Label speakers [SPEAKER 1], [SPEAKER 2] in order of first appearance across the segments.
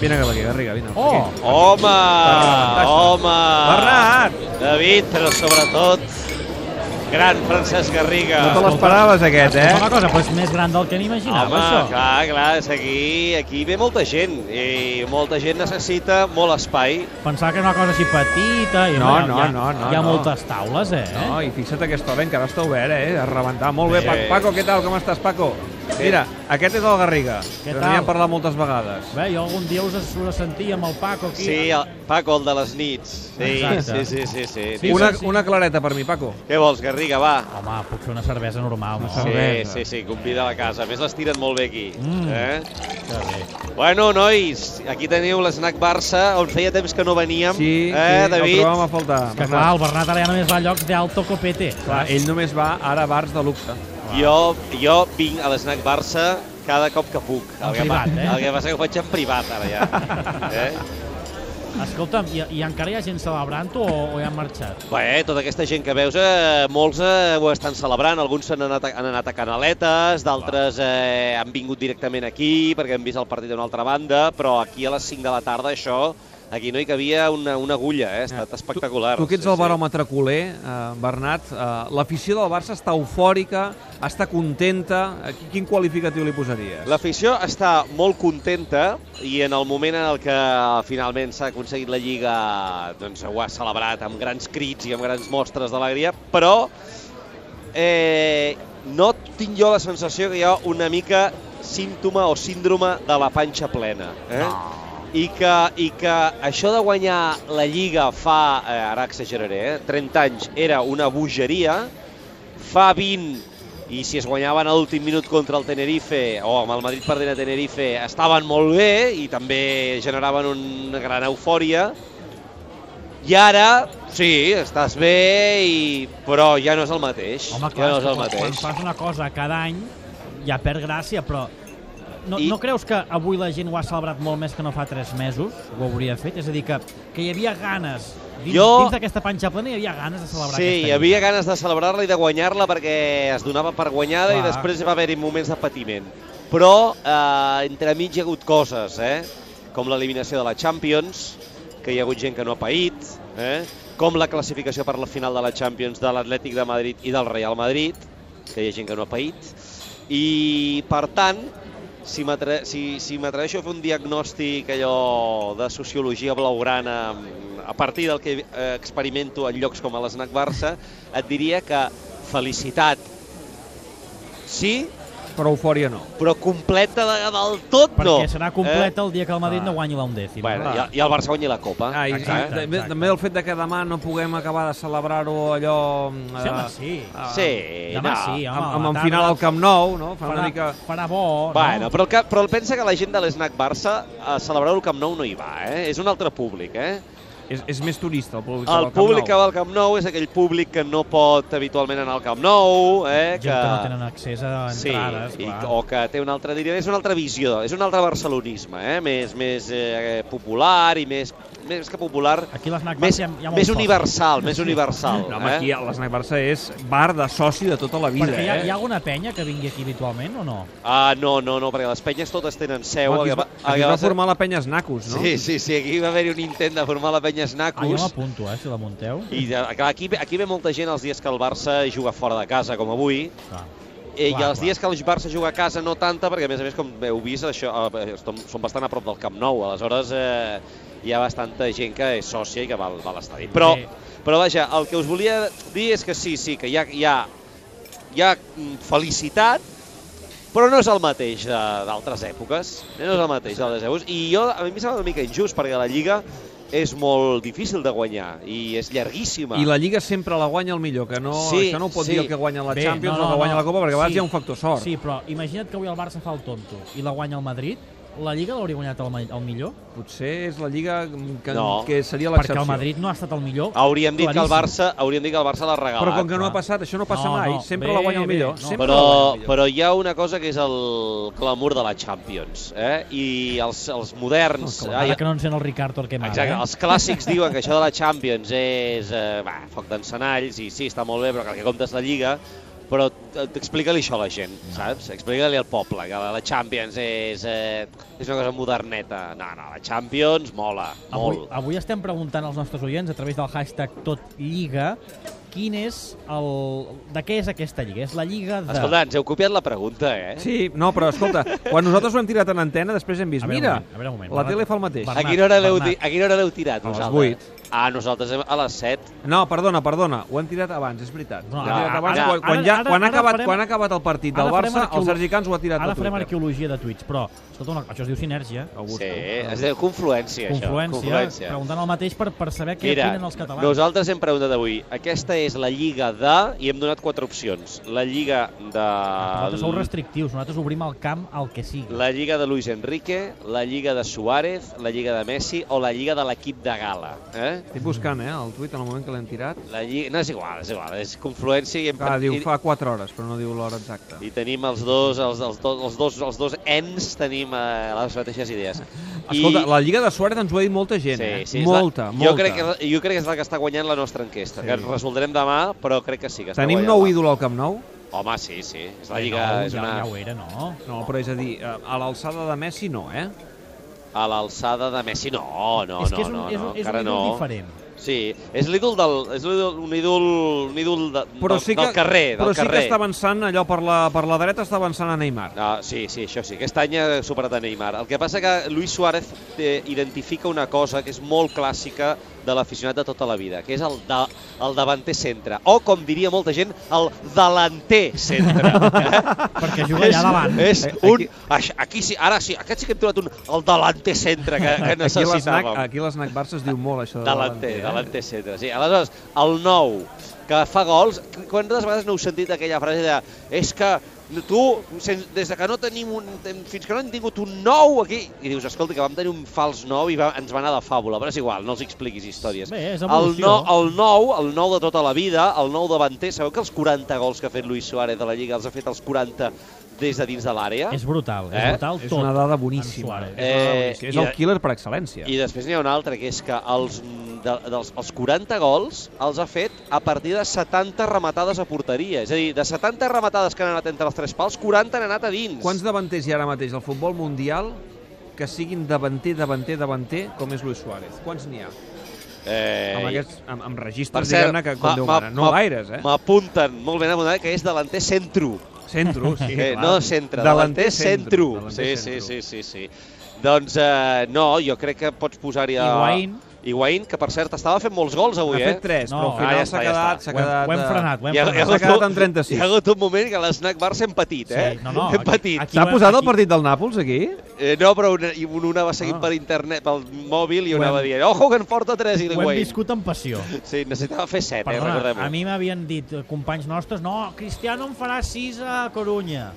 [SPEAKER 1] Vine cap aquí, Garriga, vine.
[SPEAKER 2] Oh!
[SPEAKER 1] Aquí.
[SPEAKER 3] Home!
[SPEAKER 1] Bernat,
[SPEAKER 3] Home!
[SPEAKER 1] Bernat!
[SPEAKER 3] David, però sobretot, gran Francesc Garriga.
[SPEAKER 1] No te l'esperaves, aquest,
[SPEAKER 2] Escolta una
[SPEAKER 1] eh?
[SPEAKER 2] cosa, però és més gran del que n'imaginava,
[SPEAKER 3] Home,
[SPEAKER 2] això.
[SPEAKER 3] clar, clar, és aquí, aquí ve molta gent i molta gent necessita molt espai.
[SPEAKER 2] Pensava que era una cosa així petita. I,
[SPEAKER 1] No,
[SPEAKER 2] home,
[SPEAKER 1] no,
[SPEAKER 2] hi ha,
[SPEAKER 1] no, no,
[SPEAKER 2] Hi ha
[SPEAKER 1] no.
[SPEAKER 2] moltes taules, eh?
[SPEAKER 1] No, i fixa't que aquesta hora encara està obert, eh? A rebentar. Molt bé,
[SPEAKER 3] Sí.
[SPEAKER 1] Paco, Paco, què tal? Com estàs, Paco? Mira, aquest és el Garriga, que
[SPEAKER 2] tal?
[SPEAKER 1] n'hi ha parlat moltes vegades.
[SPEAKER 2] Bé, jo algun dia us surt a sentir amb el Paco aquí.
[SPEAKER 3] Sí, el, Paco, el de les nits. Sí,
[SPEAKER 2] Exacte.
[SPEAKER 3] sí, sí, sí, sí.
[SPEAKER 2] Sí,
[SPEAKER 3] Diu-
[SPEAKER 1] Una,
[SPEAKER 2] sí, sí.
[SPEAKER 1] una clareta per mi, Paco.
[SPEAKER 3] Què vols, Garriga, va?
[SPEAKER 2] Home, puc fer una cervesa normal, no?
[SPEAKER 1] Una
[SPEAKER 3] Sí,
[SPEAKER 1] cervesa.
[SPEAKER 3] sí, sí, convida a la casa. A més, les tiren molt bé aquí.
[SPEAKER 2] Mm.
[SPEAKER 3] Eh?
[SPEAKER 2] Que bé.
[SPEAKER 3] Bueno, nois, aquí teniu l'esnac Barça, on feia temps que no veníem.
[SPEAKER 1] Sí,
[SPEAKER 3] eh,
[SPEAKER 1] sí,
[SPEAKER 3] David?
[SPEAKER 1] el trobàvem a faltar.
[SPEAKER 2] Que clar, el Bernat ara ja només va a llocs d'alto copete.
[SPEAKER 1] Clar, ell només va ara a bars de luxe.
[SPEAKER 3] Jo, jo vinc a l'esnac Barça cada cop que puc.
[SPEAKER 2] En privat,
[SPEAKER 3] pa-
[SPEAKER 2] eh?
[SPEAKER 3] El que passa que ho faig en privat, ara ja. eh?
[SPEAKER 2] Escolta'm, i, i encara hi ha gent celebrant-ho o, o ja han marxat?
[SPEAKER 3] Bé, tota aquesta gent que veus, eh, molts eh, ho estan celebrant, alguns s'han anat, a- han anat a Canaletes, d'altres eh, han vingut directament aquí perquè han vist el partit d'una altra banda, però aquí a les 5 de la tarda això, aquí no hi cabia una, una agulla, eh? ha estat
[SPEAKER 2] Ah,
[SPEAKER 3] espectacular.
[SPEAKER 1] Tu, tu que ets
[SPEAKER 3] Sí,
[SPEAKER 1] el
[SPEAKER 3] sí.
[SPEAKER 1] baròmetre culer, eh, Bernat, eh, l'afició del Barça està eufòrica, està contenta, Eh, qui- quin qualificatiu li posaries?
[SPEAKER 3] L'afició està molt contenta i en el moment en el que finalment s'ha aconseguit la Lliga doncs, ho ha celebrat amb grans crits i amb grans mostres d'alegria, però eh, no tinc jo la sensació que hi ha una mica símptoma o síndrome de la panxa plena. Eh? I, que, I que això de guanyar la Lliga fa, eh, ara exageraré, eh, 30 anys era una bogeria, fa 20 i si es guanyaven a l'últim minut contra el Tenerife o amb el Madrid perdent a Tenerife estaven molt bé i també generaven una gran eufòria i ara, sí, estàs bé, i... però ja no és el mateix. ja no
[SPEAKER 2] és
[SPEAKER 3] és
[SPEAKER 2] que
[SPEAKER 3] el
[SPEAKER 2] quan
[SPEAKER 3] mateix.
[SPEAKER 2] fas una cosa cada any ja perd gràcia, però no,
[SPEAKER 3] I-
[SPEAKER 2] no creus que avui la gent ho ha celebrat molt més que no fa tres mesos? Ho hauria fet? És a dir, que, que hi havia ganes, dins,
[SPEAKER 3] Jo-
[SPEAKER 2] dins d'aquesta panxa plena hi havia ganes de celebrar
[SPEAKER 3] Sí,
[SPEAKER 2] aquesta
[SPEAKER 3] hi havia ganes de celebrar-la i de guanyar-la perquè es donava per guanyada i
[SPEAKER 2] Clar.
[SPEAKER 3] després va haver-hi moments de patiment. Però eh, entremig hi ha hagut coses, eh? com l'eliminació de la Champions, que hi ha hagut gent que no ha paït, eh? com la classificació per la final de la Champions de l'Atlètic de Madrid i del Real Madrid, que hi ha gent que no ha paït. I, per tant, si m'atre- si si m'atreveixo a fer un diagnòstic allò de sociologia blaugrana mm, a partir del que eh, experimento en llocs com a l'Snac Barça, et diria que felicitat sí,
[SPEAKER 1] Però eufòria no.
[SPEAKER 3] però completa de, del tot
[SPEAKER 2] Perquè
[SPEAKER 3] no.
[SPEAKER 2] serà completa el dia que el Madrid no guanyi la
[SPEAKER 3] Eh?
[SPEAKER 2] undècima.
[SPEAKER 3] Bueno, i, el- I el Barça guanyi la Copa. eh?
[SPEAKER 1] Ah, i,
[SPEAKER 2] Exacte,
[SPEAKER 1] i també-
[SPEAKER 2] exacte.
[SPEAKER 1] també el fet de que demà no puguem acabar de celebrar-ho allò... mm,
[SPEAKER 2] Sí,
[SPEAKER 3] ah,
[SPEAKER 2] home,
[SPEAKER 1] eh,
[SPEAKER 2] sí.
[SPEAKER 1] eh,
[SPEAKER 3] sí,
[SPEAKER 2] Ah, Demà
[SPEAKER 3] no.
[SPEAKER 2] sí, home.
[SPEAKER 1] Amb,
[SPEAKER 2] a
[SPEAKER 1] amb
[SPEAKER 2] la
[SPEAKER 1] en
[SPEAKER 2] tarda
[SPEAKER 1] final al Camp Nou, no? Fa
[SPEAKER 2] Farà,
[SPEAKER 1] una mica...
[SPEAKER 2] farà bo,
[SPEAKER 3] Bueno,
[SPEAKER 2] no?
[SPEAKER 3] però, el que, però pensa que la gent de l'Snac Barça a celebrar el Camp Nou no hi va, eh? És un altre públic, eh?
[SPEAKER 1] És, és més turista, el públic
[SPEAKER 3] El
[SPEAKER 1] del Camp
[SPEAKER 3] públic que
[SPEAKER 1] Nou.
[SPEAKER 3] va al Camp Nou és aquell públic que no pot habitualment anar al Camp Nou, eh,
[SPEAKER 2] Gent
[SPEAKER 3] que...
[SPEAKER 2] que... no tenen accés a entrades,
[SPEAKER 3] i,
[SPEAKER 2] clar.
[SPEAKER 3] o que té una altra diria, és una altra visió, és un altre barcelonisme, eh, més més eh, popular i més més que popular,
[SPEAKER 2] Aquí a l'Snac Barça
[SPEAKER 3] més,
[SPEAKER 2] hi ha, hi ha molt
[SPEAKER 3] més
[SPEAKER 2] poc.
[SPEAKER 3] universal, més universal,
[SPEAKER 1] No, home,
[SPEAKER 3] eh?
[SPEAKER 1] aquí a l'Snac Barça és bar de soci de tota la vida,
[SPEAKER 2] Perquè hi ha,
[SPEAKER 1] eh?
[SPEAKER 2] hi ha alguna penya que vingui aquí habitualment o no?
[SPEAKER 3] Ah, no, no, no, perquè les penyes totes tenen seu.
[SPEAKER 1] Home, aquí es va,
[SPEAKER 3] el que el
[SPEAKER 1] aquí
[SPEAKER 3] que
[SPEAKER 1] es va
[SPEAKER 3] ser-
[SPEAKER 1] formar la penya Snacus, no?
[SPEAKER 3] Sí, sí, sí, aquí va haver-hi un intent de formar la penya
[SPEAKER 2] Ah, jo
[SPEAKER 3] Snacus.
[SPEAKER 2] m'apunto, eh, si la munteu.
[SPEAKER 3] I de, clar, aquí, ve- aquí ve molta gent els dies que el Barça juga fora de casa, com avui,
[SPEAKER 2] Clar.
[SPEAKER 3] Eh, I
[SPEAKER 2] Clar,
[SPEAKER 3] els
[SPEAKER 2] clar.
[SPEAKER 3] dies que el Barça juga a casa no tanta, perquè a més a més, com heu vist, això, eh, som, som bastant a prop del Camp Nou, aleshores eh, hi ha bastanta gent que és sòcia i que va, al- va a l'estadi. Però,
[SPEAKER 2] Sí.
[SPEAKER 3] però vaja, el que us volia dir és que sí, sí, que hi ha, hi ha, hi ha mm, felicitat, però no és el mateix de- d'altres èpoques, eh, no és el mateix d'altres èpoques, i jo, a mi em sembla una mica injust, perquè la Lliga és molt difícil de guanyar i és llarguíssima.
[SPEAKER 1] I la Lliga sempre la guanya el millor, que no,
[SPEAKER 3] Sí,
[SPEAKER 1] això no ho pot
[SPEAKER 3] sí.
[SPEAKER 1] dir el que guanya la
[SPEAKER 2] Bé,
[SPEAKER 1] Champions o
[SPEAKER 2] no,
[SPEAKER 1] el
[SPEAKER 2] no,
[SPEAKER 1] que guanya
[SPEAKER 2] no.
[SPEAKER 1] la Copa, perquè a vegades
[SPEAKER 2] Sí.
[SPEAKER 1] hi ha un factor sort.
[SPEAKER 2] Sí, però imagina't que avui el Barça fa el tonto i la guanya el Madrid, la Lliga l'hauria guanyat el, ma- el millor?
[SPEAKER 1] Potser és la Lliga que,
[SPEAKER 3] No.
[SPEAKER 1] que seria
[SPEAKER 2] Perquè
[SPEAKER 1] l'excepció.
[SPEAKER 2] el Madrid no ha estat el millor.
[SPEAKER 1] Ah,
[SPEAKER 3] Hauríem dit que el
[SPEAKER 2] Claríssim.
[SPEAKER 3] Barça, hauríem dit que el Barça l'ha regalat.
[SPEAKER 1] Però com que no ha
[SPEAKER 2] clar.
[SPEAKER 1] passat, això no passa
[SPEAKER 2] No,
[SPEAKER 1] mai,
[SPEAKER 2] no,
[SPEAKER 1] sempre
[SPEAKER 2] bé,
[SPEAKER 1] la guanya el
[SPEAKER 2] bé,
[SPEAKER 1] millor.
[SPEAKER 2] no.
[SPEAKER 1] sempre la guanya
[SPEAKER 3] Ah, Però,
[SPEAKER 1] el millor.
[SPEAKER 3] però hi ha una cosa que és el clamor de la Champions, eh? I els, els moderns...
[SPEAKER 2] No,
[SPEAKER 3] ai,
[SPEAKER 2] Ara que no ens sent el Ricard Torquemada.
[SPEAKER 3] Exacte,
[SPEAKER 2] eh?
[SPEAKER 3] els clàssics diuen que això de la Champions és eh, va, foc d'encenalls i sí, està molt bé, però que el que compta és la Lliga. però eh, explica-li això a la gent, saps? Explica-li al poble que la Champions és, eh, és una cosa moderneta. No, no, la Champions mola,
[SPEAKER 2] Avui, Ah.
[SPEAKER 3] molt.
[SPEAKER 2] avui estem preguntant als nostres oients a través del hashtag tot lliga quin és el... de què és aquesta lliga? És la lliga de...
[SPEAKER 3] Escolta, ens heu copiat la pregunta, eh?
[SPEAKER 1] Sí, no, però escolta, quan nosaltres ho hem tirat en antena, després hem vist,
[SPEAKER 2] A veure un
[SPEAKER 1] mira,
[SPEAKER 2] moment, a veure un moment.
[SPEAKER 1] la
[SPEAKER 2] Bernat-
[SPEAKER 1] tele fa el mateix.
[SPEAKER 2] Bernat.
[SPEAKER 3] a, quina hora l'heu
[SPEAKER 2] Bernat.
[SPEAKER 3] ti- a quina hora l'heu tirat,
[SPEAKER 1] A les
[SPEAKER 3] vosaltres? Ah, nosaltres hem- a les 7.
[SPEAKER 1] No, perdona, perdona, ho hem tirat abans, és veritat.
[SPEAKER 2] No,
[SPEAKER 1] No,
[SPEAKER 2] ara-
[SPEAKER 1] hem tirat abans,
[SPEAKER 3] ara-
[SPEAKER 1] quan, quan,
[SPEAKER 2] ara-
[SPEAKER 1] ja,
[SPEAKER 2] ara-
[SPEAKER 1] quan, ha
[SPEAKER 2] ara
[SPEAKER 1] acabat,
[SPEAKER 2] farem-
[SPEAKER 1] quan ha acabat el partit del
[SPEAKER 2] Ara farem
[SPEAKER 1] Barça,
[SPEAKER 2] arqueolo-
[SPEAKER 1] el Sergi Cans ho ha tirat
[SPEAKER 2] Ara
[SPEAKER 1] a eh?
[SPEAKER 2] farem
[SPEAKER 1] Twitter.
[SPEAKER 2] arqueologia de tuits, però, escolta, una, això es diu sinèrgia.
[SPEAKER 1] Augusto.
[SPEAKER 3] Sí, es diu
[SPEAKER 2] Confluència,
[SPEAKER 3] confluència, això. Confluència.
[SPEAKER 2] preguntant el mateix per, per saber què
[SPEAKER 3] Mira,
[SPEAKER 2] opinen els catalans.
[SPEAKER 3] nosaltres hem preguntat avui, aquesta és la lliga de... i hem donat quatre opcions. La lliga de...
[SPEAKER 2] Nosaltres sou restrictius, nosaltres obrim el camp al que sigui.
[SPEAKER 3] La lliga de Luis Enrique, la lliga de Suárez, la lliga de Messi o la lliga de l'equip de gala. Eh?
[SPEAKER 1] Estic buscant, eh, el tuit en el moment que l'hem tirat.
[SPEAKER 3] La lliga... No, és igual, és igual, és confluència i, hem...
[SPEAKER 1] Clar, diu
[SPEAKER 3] i,
[SPEAKER 1] fa 4 hores, però no diu l'hora exacta.
[SPEAKER 3] i tenim els dos, els, els, dos, els, dos, els dos ens tenim eh, les mateixes idees.
[SPEAKER 1] Escolta, la Lliga de Suárez ens ho ha dit molta gent, eh?
[SPEAKER 3] és
[SPEAKER 1] molta,
[SPEAKER 3] la,
[SPEAKER 1] molta.
[SPEAKER 3] Jo crec, que, és- jo crec que és la que està guanyant la nostra enquesta,
[SPEAKER 1] Sí.
[SPEAKER 3] sí. que ens resoldrem demà, però crec que sí que està
[SPEAKER 1] Tenim
[SPEAKER 3] guanyant.
[SPEAKER 1] nou
[SPEAKER 3] la-
[SPEAKER 1] ídol al Camp Nou?
[SPEAKER 3] Home, sí, sí. És la
[SPEAKER 2] Eh,
[SPEAKER 3] lliga...
[SPEAKER 2] no,
[SPEAKER 3] és
[SPEAKER 2] ja,
[SPEAKER 3] una...
[SPEAKER 2] ja ho era, no?
[SPEAKER 1] No, però és a dir, eh, a l'alçada de Messi no, eh?
[SPEAKER 3] A l'alçada de Messi, no, no,
[SPEAKER 2] és
[SPEAKER 3] no,
[SPEAKER 2] que és un,
[SPEAKER 3] no,
[SPEAKER 2] és un,
[SPEAKER 3] no,
[SPEAKER 2] és un
[SPEAKER 3] encara
[SPEAKER 2] ídol
[SPEAKER 3] no.
[SPEAKER 2] diferent.
[SPEAKER 3] Sí, és l'ídol del... És l'ídol, un ídol, un ídol de,
[SPEAKER 1] Però
[SPEAKER 3] del,
[SPEAKER 1] sí que,
[SPEAKER 3] del carrer, del
[SPEAKER 1] però
[SPEAKER 3] carrer.
[SPEAKER 1] sí que està avançant allò per la, per la dreta, està avançant a Neymar.
[SPEAKER 3] No, sí, sí, això sí. Aquest any ha superat a Neymar. El que passa que Luis Suárez eh, identifica una cosa que és molt clàssica de l'aficionat de tota la vida, que és el, de, el davanter centre, o, com diria molta gent, el delanter centre.
[SPEAKER 2] Perquè juga allà davant.
[SPEAKER 3] És,
[SPEAKER 1] Eh,
[SPEAKER 3] és un... Aquí, aquí sí, ara sí, aquest sí que hem trobat un, el delanter centre que, que
[SPEAKER 1] Aquí l'esnac
[SPEAKER 3] necessitàvem.
[SPEAKER 1] aquí l'esnac Barça es diu molt això de
[SPEAKER 3] Delanter,
[SPEAKER 1] eh?
[SPEAKER 3] delanter centre, sí. Aleshores, el 9, que fa gols, quantes vegades no heu sentit aquella frase de és que tu, sen- des de que no tenim un... tem- fins que no hem tingut un 9 aquí, i dius, escolta, que vam tenir un fals 9 i va, ens va anar de fàbula, però és igual, no els expliquis històries.
[SPEAKER 2] Bé, és
[SPEAKER 3] el,
[SPEAKER 2] evolució.
[SPEAKER 3] el 9, el 9 de tota la vida, el 9 davanter, sabeu que els 40 gols que ha fet Luis Suárez de la Lliga els ha fet els 40 des de dins de l'àrea?
[SPEAKER 2] És brutal, és
[SPEAKER 3] Eh?
[SPEAKER 2] brutal
[SPEAKER 1] És
[SPEAKER 2] tot.
[SPEAKER 1] una dada
[SPEAKER 2] en
[SPEAKER 1] boníssima.
[SPEAKER 2] Suárez.
[SPEAKER 1] És, una dada
[SPEAKER 3] Eh,
[SPEAKER 1] boníssima. és
[SPEAKER 3] i
[SPEAKER 1] el
[SPEAKER 3] de-
[SPEAKER 1] killer per excel·lència.
[SPEAKER 3] I després n'hi ha un altre, que és que els, de, dels, els 40 gols els ha fet a partir de 70 rematades a porteria. És a dir, de 70 rematades que han anat entre els tres pals, 40 han anat a dins.
[SPEAKER 1] Quants davanters hi ha ara mateix al futbol mundial que siguin davanter, davanter, davanter, com és Luis Suárez? Quants n'hi ha?
[SPEAKER 3] Eh,
[SPEAKER 1] Amb, aquests, amb, amb
[SPEAKER 3] per
[SPEAKER 1] registres,
[SPEAKER 3] cert,
[SPEAKER 1] diguem-ne, que
[SPEAKER 3] ma-
[SPEAKER 1] com Déu
[SPEAKER 3] ma-
[SPEAKER 1] mana. No
[SPEAKER 3] ma-
[SPEAKER 1] gaires, eh?
[SPEAKER 3] M'apunten, molt ben apuntat, que és delanter centro.
[SPEAKER 1] Centro, sí,
[SPEAKER 3] Eh,
[SPEAKER 1] clar.
[SPEAKER 3] no centre, delanter, centro. Sí, sí, sí, sí, sí. Doncs eh, no, jo crec que pots posar-hi a...
[SPEAKER 2] Higuaín.
[SPEAKER 3] Higuaín, que per cert estava fent molts gols avui,
[SPEAKER 1] N'ha
[SPEAKER 3] eh?
[SPEAKER 1] fet 3,
[SPEAKER 2] No.
[SPEAKER 1] però al final
[SPEAKER 3] Ah,
[SPEAKER 1] s'ha
[SPEAKER 3] ja està, ja
[SPEAKER 1] quedat...
[SPEAKER 3] està.
[SPEAKER 1] s'ha
[SPEAKER 2] Ho hem-
[SPEAKER 1] quedat,
[SPEAKER 2] ho hem
[SPEAKER 1] eh,
[SPEAKER 2] frenat, ho hem
[SPEAKER 3] Hi ha- hi ha
[SPEAKER 1] S'ha
[SPEAKER 2] frenat.
[SPEAKER 3] hagut
[SPEAKER 1] quedat
[SPEAKER 3] un-
[SPEAKER 1] en 36.
[SPEAKER 3] Hi ha hagut un moment que l'esnac Barça hem patit, eh?
[SPEAKER 2] Sí, no, no,
[SPEAKER 3] hem
[SPEAKER 2] aquí-
[SPEAKER 3] patit.
[SPEAKER 2] aquí-
[SPEAKER 1] S'ha posat el
[SPEAKER 2] Aquí-
[SPEAKER 1] partit del Nàpols, aquí?
[SPEAKER 3] Eh, no, però una, i un- una va seguint
[SPEAKER 1] Ah.
[SPEAKER 3] ah. per internet, pel mòbil, i
[SPEAKER 1] Ho
[SPEAKER 3] una
[SPEAKER 1] hem-
[SPEAKER 3] va dient, ojo que en porta tres i
[SPEAKER 2] Ho hem
[SPEAKER 3] l'Higuaín.
[SPEAKER 2] viscut amb passió.
[SPEAKER 3] Sí, necessitava fer set, eh,
[SPEAKER 2] Perdona,
[SPEAKER 3] recordem-ho.
[SPEAKER 2] a mi m'havien dit eh, companys nostres, no, Cristiano en farà 6 a Corunya.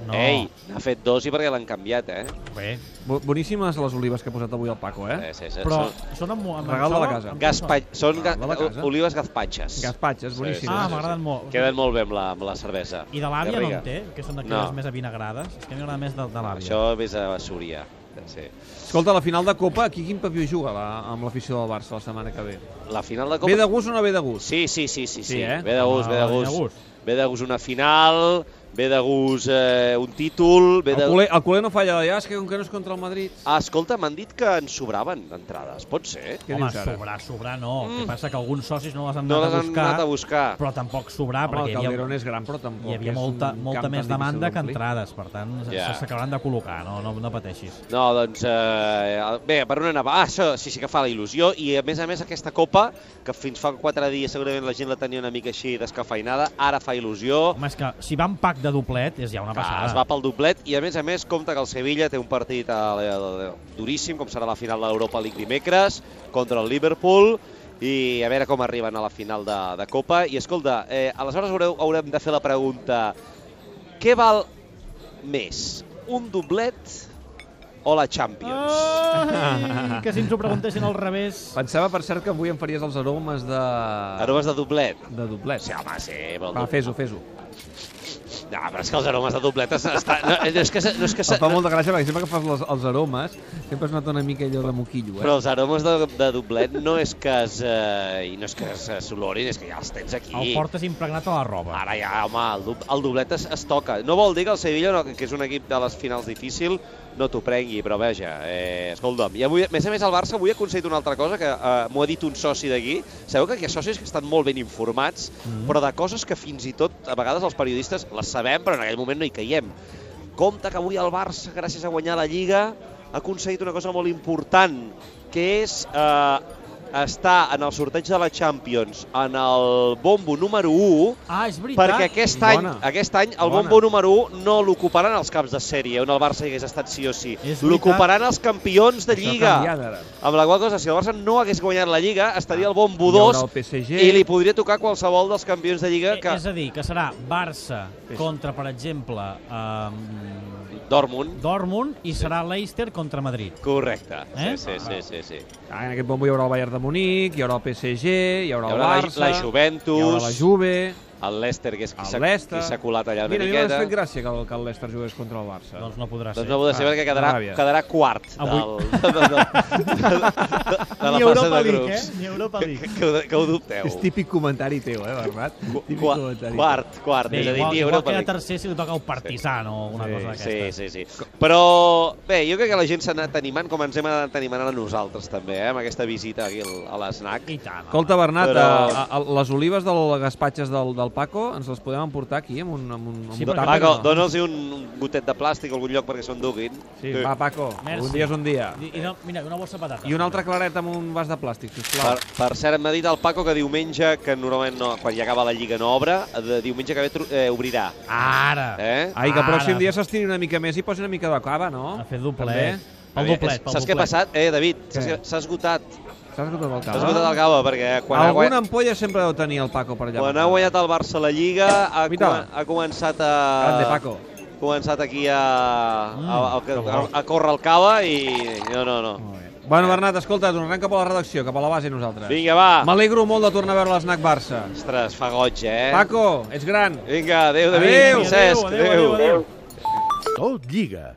[SPEAKER 2] No,
[SPEAKER 3] Ei, n'ha fet dos i perquè l'han canviat, eh?
[SPEAKER 2] bé,
[SPEAKER 1] Bo- Boníssimes les olives que ha posat avui el Paco, eh?
[SPEAKER 3] eh sí, sí,
[SPEAKER 2] però Ah,
[SPEAKER 3] Són,
[SPEAKER 2] són amb, amb
[SPEAKER 1] Regal de la
[SPEAKER 2] amb-
[SPEAKER 1] casa.
[SPEAKER 2] amb-
[SPEAKER 3] gaspa... són ga...
[SPEAKER 1] de la casa.
[SPEAKER 3] olives gazpatxes.
[SPEAKER 1] Gazpatxes, boníssimes.
[SPEAKER 2] Ah, m'agraden molt.
[SPEAKER 3] Queden molt bé amb la, amb la cervesa.
[SPEAKER 2] I de l'àvia
[SPEAKER 3] Que
[SPEAKER 2] no
[SPEAKER 3] rica.
[SPEAKER 2] en té, que són d'aquelles
[SPEAKER 3] No.
[SPEAKER 2] més avinagrades. És que a mi m'agrada més de, de l'àvia.
[SPEAKER 3] Això vés a Súria. Sí.
[SPEAKER 1] Escolta, la final de Copa, aquí quin papió juga la, amb l'afició del Barça la setmana que ve?
[SPEAKER 3] La final de Copa...
[SPEAKER 1] Ve de gust o no ve de gust?
[SPEAKER 3] Sí, sí, sí, sí, sí.
[SPEAKER 1] Sí, eh?
[SPEAKER 3] Ve de gust,
[SPEAKER 2] Ah,
[SPEAKER 3] ve de
[SPEAKER 2] ve de
[SPEAKER 3] gust.
[SPEAKER 2] gust.
[SPEAKER 3] Ve de gust una final, ve de gust eh, un títol, ve
[SPEAKER 1] El
[SPEAKER 3] de...
[SPEAKER 1] culer, el culer no falla d'allà, és que com que no és contra el Madrid...
[SPEAKER 3] Ah, escolta, m'han dit que en sobraven entrades, pot ser?
[SPEAKER 1] Què
[SPEAKER 2] Home,
[SPEAKER 1] dius ara?
[SPEAKER 2] sobrar, sobrar no. Mm. que passa que alguns socis no les han
[SPEAKER 3] No
[SPEAKER 2] anat
[SPEAKER 3] les
[SPEAKER 2] a
[SPEAKER 3] han
[SPEAKER 2] buscar,
[SPEAKER 3] anat a buscar.
[SPEAKER 2] però tampoc sobrar,
[SPEAKER 1] Home, el
[SPEAKER 2] perquè hi havia,
[SPEAKER 1] Calderón és gran, però tampoc
[SPEAKER 2] hi havia
[SPEAKER 1] és un
[SPEAKER 2] molta,
[SPEAKER 1] camp
[SPEAKER 2] molta
[SPEAKER 1] tan
[SPEAKER 2] més
[SPEAKER 1] difícil
[SPEAKER 2] demanda que
[SPEAKER 1] d'omplir.
[SPEAKER 2] entrades, per tant,
[SPEAKER 3] Ja.
[SPEAKER 2] yeah. s'acabaran de col·locar, no, no, no pateixis.
[SPEAKER 3] No, doncs, eh, bé, per on anava? Ah, això sí, sí que fa la il·lusió, i a més a més aquesta copa, que fins fa quatre dies segurament la gent la tenia una mica així descafeinada, ara fa il·lusió,
[SPEAKER 2] Home, és que si va un pack de doblet és ja una
[SPEAKER 3] Clar,
[SPEAKER 2] passada.
[SPEAKER 3] es va pel doblet i a més a més compta que el Sevilla té un partit eh, eh, duríssim com serà la final de l'Europa League dimecres contra el Liverpool i a veure com arriben a la final de, de Copa i escolta, eh, aleshores haureu, haurem de fer la pregunta què val més, un doblet o la
[SPEAKER 2] Ah!
[SPEAKER 3] Champions?
[SPEAKER 2] Ai, que si ens ho preguntessin al revés...
[SPEAKER 1] Pensava, per cert, que avui em faries els aromes de...
[SPEAKER 3] Aromes de doblet?
[SPEAKER 1] de doblet.
[SPEAKER 3] Sí, home, sí, però el
[SPEAKER 1] Va,
[SPEAKER 3] doblet.
[SPEAKER 1] fes-ho, fes-ho.
[SPEAKER 3] No, però és que els aromes de dobletes... Està, no, no, és que, se- no és que
[SPEAKER 1] Em
[SPEAKER 3] se,
[SPEAKER 1] fa molta gràcia perquè sempre que fas les, els aromes sempre es nota una mica allò de moquillo, eh?
[SPEAKER 3] Però els aromes de, de doblet no és que es, eh, i no és que s'olorin, és que ja els tens aquí.
[SPEAKER 2] El portes impregnat a la roba.
[SPEAKER 3] Ara ja, home, el, do, el doblet es, es toca. No vol dir que el Sevilla, no, que és un equip de les finals difícil, no t'ho prengui, però veja, eh, escolta'm. I avui, a més a més, el Barça avui ha aconseguit una altra cosa que eh, m'ho ha dit un soci d'aquí. Sabeu que aquests socis que estan molt ben informats, mm. però de coses que fins i tot a vegades els periodistes les sabem, però en aquell moment no hi caiem. Compte que avui el Barça, gràcies a guanyar la Lliga, ha aconseguit una cosa molt important, que és eh, estar en el sorteig de la Champions, en el bombo número 1,
[SPEAKER 2] Ah, és veritat.
[SPEAKER 3] perquè aquest any,
[SPEAKER 1] Bona.
[SPEAKER 3] aquest any el
[SPEAKER 1] Bona.
[SPEAKER 3] bombo número 1 no l'ocuparan els caps de sèrie, on el Barça hi hagués estat sí o sí.
[SPEAKER 2] És veritat.
[SPEAKER 3] L'ocuparan els campions de
[SPEAKER 1] Això ha
[SPEAKER 3] Lliga.
[SPEAKER 1] canviat ara.
[SPEAKER 3] Amb la qual cosa, si el Barça no hagués guanyat la Lliga, estaria al bombo
[SPEAKER 1] Hi haurà
[SPEAKER 3] 2
[SPEAKER 1] Ah. el PSG.
[SPEAKER 3] i li podria tocar qualsevol dels campions de Lliga
[SPEAKER 2] Eh,
[SPEAKER 3] que...
[SPEAKER 2] És a dir, que serà Barça
[SPEAKER 3] Sí.
[SPEAKER 2] contra, per exemple, eh,
[SPEAKER 3] Dortmund.
[SPEAKER 2] Dortmund i serà Leicester contra Madrid.
[SPEAKER 3] Correcte.
[SPEAKER 2] Eh?
[SPEAKER 3] Sí, sí, sí, sí, sí.
[SPEAKER 1] Ah, en aquest bombo hi haurà el Bayern de Munic, hi haurà el PSG, hi haurà,
[SPEAKER 3] Hi haurà
[SPEAKER 1] el
[SPEAKER 3] la,
[SPEAKER 1] Barça,
[SPEAKER 3] la Juventus,
[SPEAKER 1] hi haurà la Juve,
[SPEAKER 3] el Leicester, que és qui
[SPEAKER 1] el
[SPEAKER 3] s'ha-
[SPEAKER 1] Leicester...
[SPEAKER 3] qui s'ha colat allà una
[SPEAKER 1] Mira, a mi
[SPEAKER 3] miqueta.
[SPEAKER 1] m'hauria fet gràcia que el, que el Leicester jugués contra el Barça.
[SPEAKER 2] Doncs no podrà
[SPEAKER 3] Doncs
[SPEAKER 2] ser.
[SPEAKER 3] no ho de ser
[SPEAKER 1] Ah,
[SPEAKER 3] perquè quedarà,
[SPEAKER 1] ràbia.
[SPEAKER 3] quedarà quart
[SPEAKER 2] Avui.
[SPEAKER 3] del, de, de, de, de, de la fase de grups.
[SPEAKER 1] eh?
[SPEAKER 2] eh? Ni Europa
[SPEAKER 3] Que, que, ho- que ho dubteu.
[SPEAKER 1] És típic comentari teu, eh, Bernat?
[SPEAKER 3] Qu-
[SPEAKER 1] Típic
[SPEAKER 3] qua-
[SPEAKER 1] comentari.
[SPEAKER 3] quart, quart,
[SPEAKER 2] Bé,
[SPEAKER 3] és a dir,
[SPEAKER 2] igual,
[SPEAKER 3] ni
[SPEAKER 2] igual
[SPEAKER 3] Europa
[SPEAKER 2] queda
[SPEAKER 3] League.
[SPEAKER 2] tercer si li toca el Partizan o alguna
[SPEAKER 1] Sí,
[SPEAKER 2] cosa
[SPEAKER 3] Sí,
[SPEAKER 2] d'aquestes.
[SPEAKER 3] sí, sí. Però, bé, jo crec que la gent s'ha anat animant com ens hem anat animant ara nosaltres, també, eh, amb aquesta visita aquí al- a l'ESNAC.
[SPEAKER 2] I tant. home.
[SPEAKER 1] Escolta, Bernat,
[SPEAKER 3] Però-
[SPEAKER 1] Però... a, a, les olives del gaspatxes del, del Paco ens les podem emportar aquí amb un, amb un, amb
[SPEAKER 2] Sí,
[SPEAKER 1] un
[SPEAKER 2] perquè-
[SPEAKER 1] tàper,
[SPEAKER 3] Paco,
[SPEAKER 1] no?
[SPEAKER 3] dona'ls un un gotet de plàstic o algun lloc perquè se'n duguin.
[SPEAKER 1] Sí,
[SPEAKER 3] Eh,
[SPEAKER 1] va, Paco,
[SPEAKER 2] Merci.
[SPEAKER 1] un dia és un dia.
[SPEAKER 2] I, i no, mira, una bossa de patates.
[SPEAKER 1] I una altra clareta amb un vas de plàstic, sisplau.
[SPEAKER 3] Per, per cert, m'ha dit el Paco que diumenge, que normalment no, quan ja acaba la Lliga no obre, de diumenge que ve tru- eh, obrirà.
[SPEAKER 2] Ara!
[SPEAKER 3] Eh?
[SPEAKER 1] Ai, que el pròxim
[SPEAKER 2] Ara.
[SPEAKER 1] dia s'estiri una mica més i posi una mica de cava, no?
[SPEAKER 2] A fer doplet.
[SPEAKER 1] També.
[SPEAKER 2] Pel
[SPEAKER 3] Aviam,
[SPEAKER 2] doplet, pel
[SPEAKER 3] Saps què ha
[SPEAKER 2] doplet.
[SPEAKER 3] passat? Eh, David, saps
[SPEAKER 1] Què? Ah.
[SPEAKER 3] què? s'ha esgotat.
[SPEAKER 1] Saps que tot el
[SPEAKER 3] S'ha
[SPEAKER 1] cava?
[SPEAKER 3] esgotat el Gava, perquè quan, ha,
[SPEAKER 1] Alguna
[SPEAKER 3] guanyat,
[SPEAKER 1] ampolla sempre deu tenir el Paco per allà.
[SPEAKER 3] quan ha guanyat el Barça la Lliga, ha,
[SPEAKER 1] Mira.
[SPEAKER 3] comen- ha començat a...
[SPEAKER 1] Grande, Paco. Mm,
[SPEAKER 3] començat aquí a, a, a,
[SPEAKER 1] que Oh.
[SPEAKER 3] a,
[SPEAKER 1] bo.
[SPEAKER 3] a córrer el cava i... No, no, no.
[SPEAKER 1] Bueno, Bernat, escolta, tornarem cap a la redacció, cap a la base nosaltres.
[SPEAKER 3] Vinga, va.
[SPEAKER 1] M'alegro molt de tornar a veure l'esnac Barça.
[SPEAKER 3] Ostres, fa goig, eh?
[SPEAKER 1] Paco, ets gran.
[SPEAKER 3] Vinga, adéu, David.
[SPEAKER 1] Adéu.
[SPEAKER 3] Francesc,
[SPEAKER 2] Adéu, adéu, adéu.
[SPEAKER 4] Tot lliga.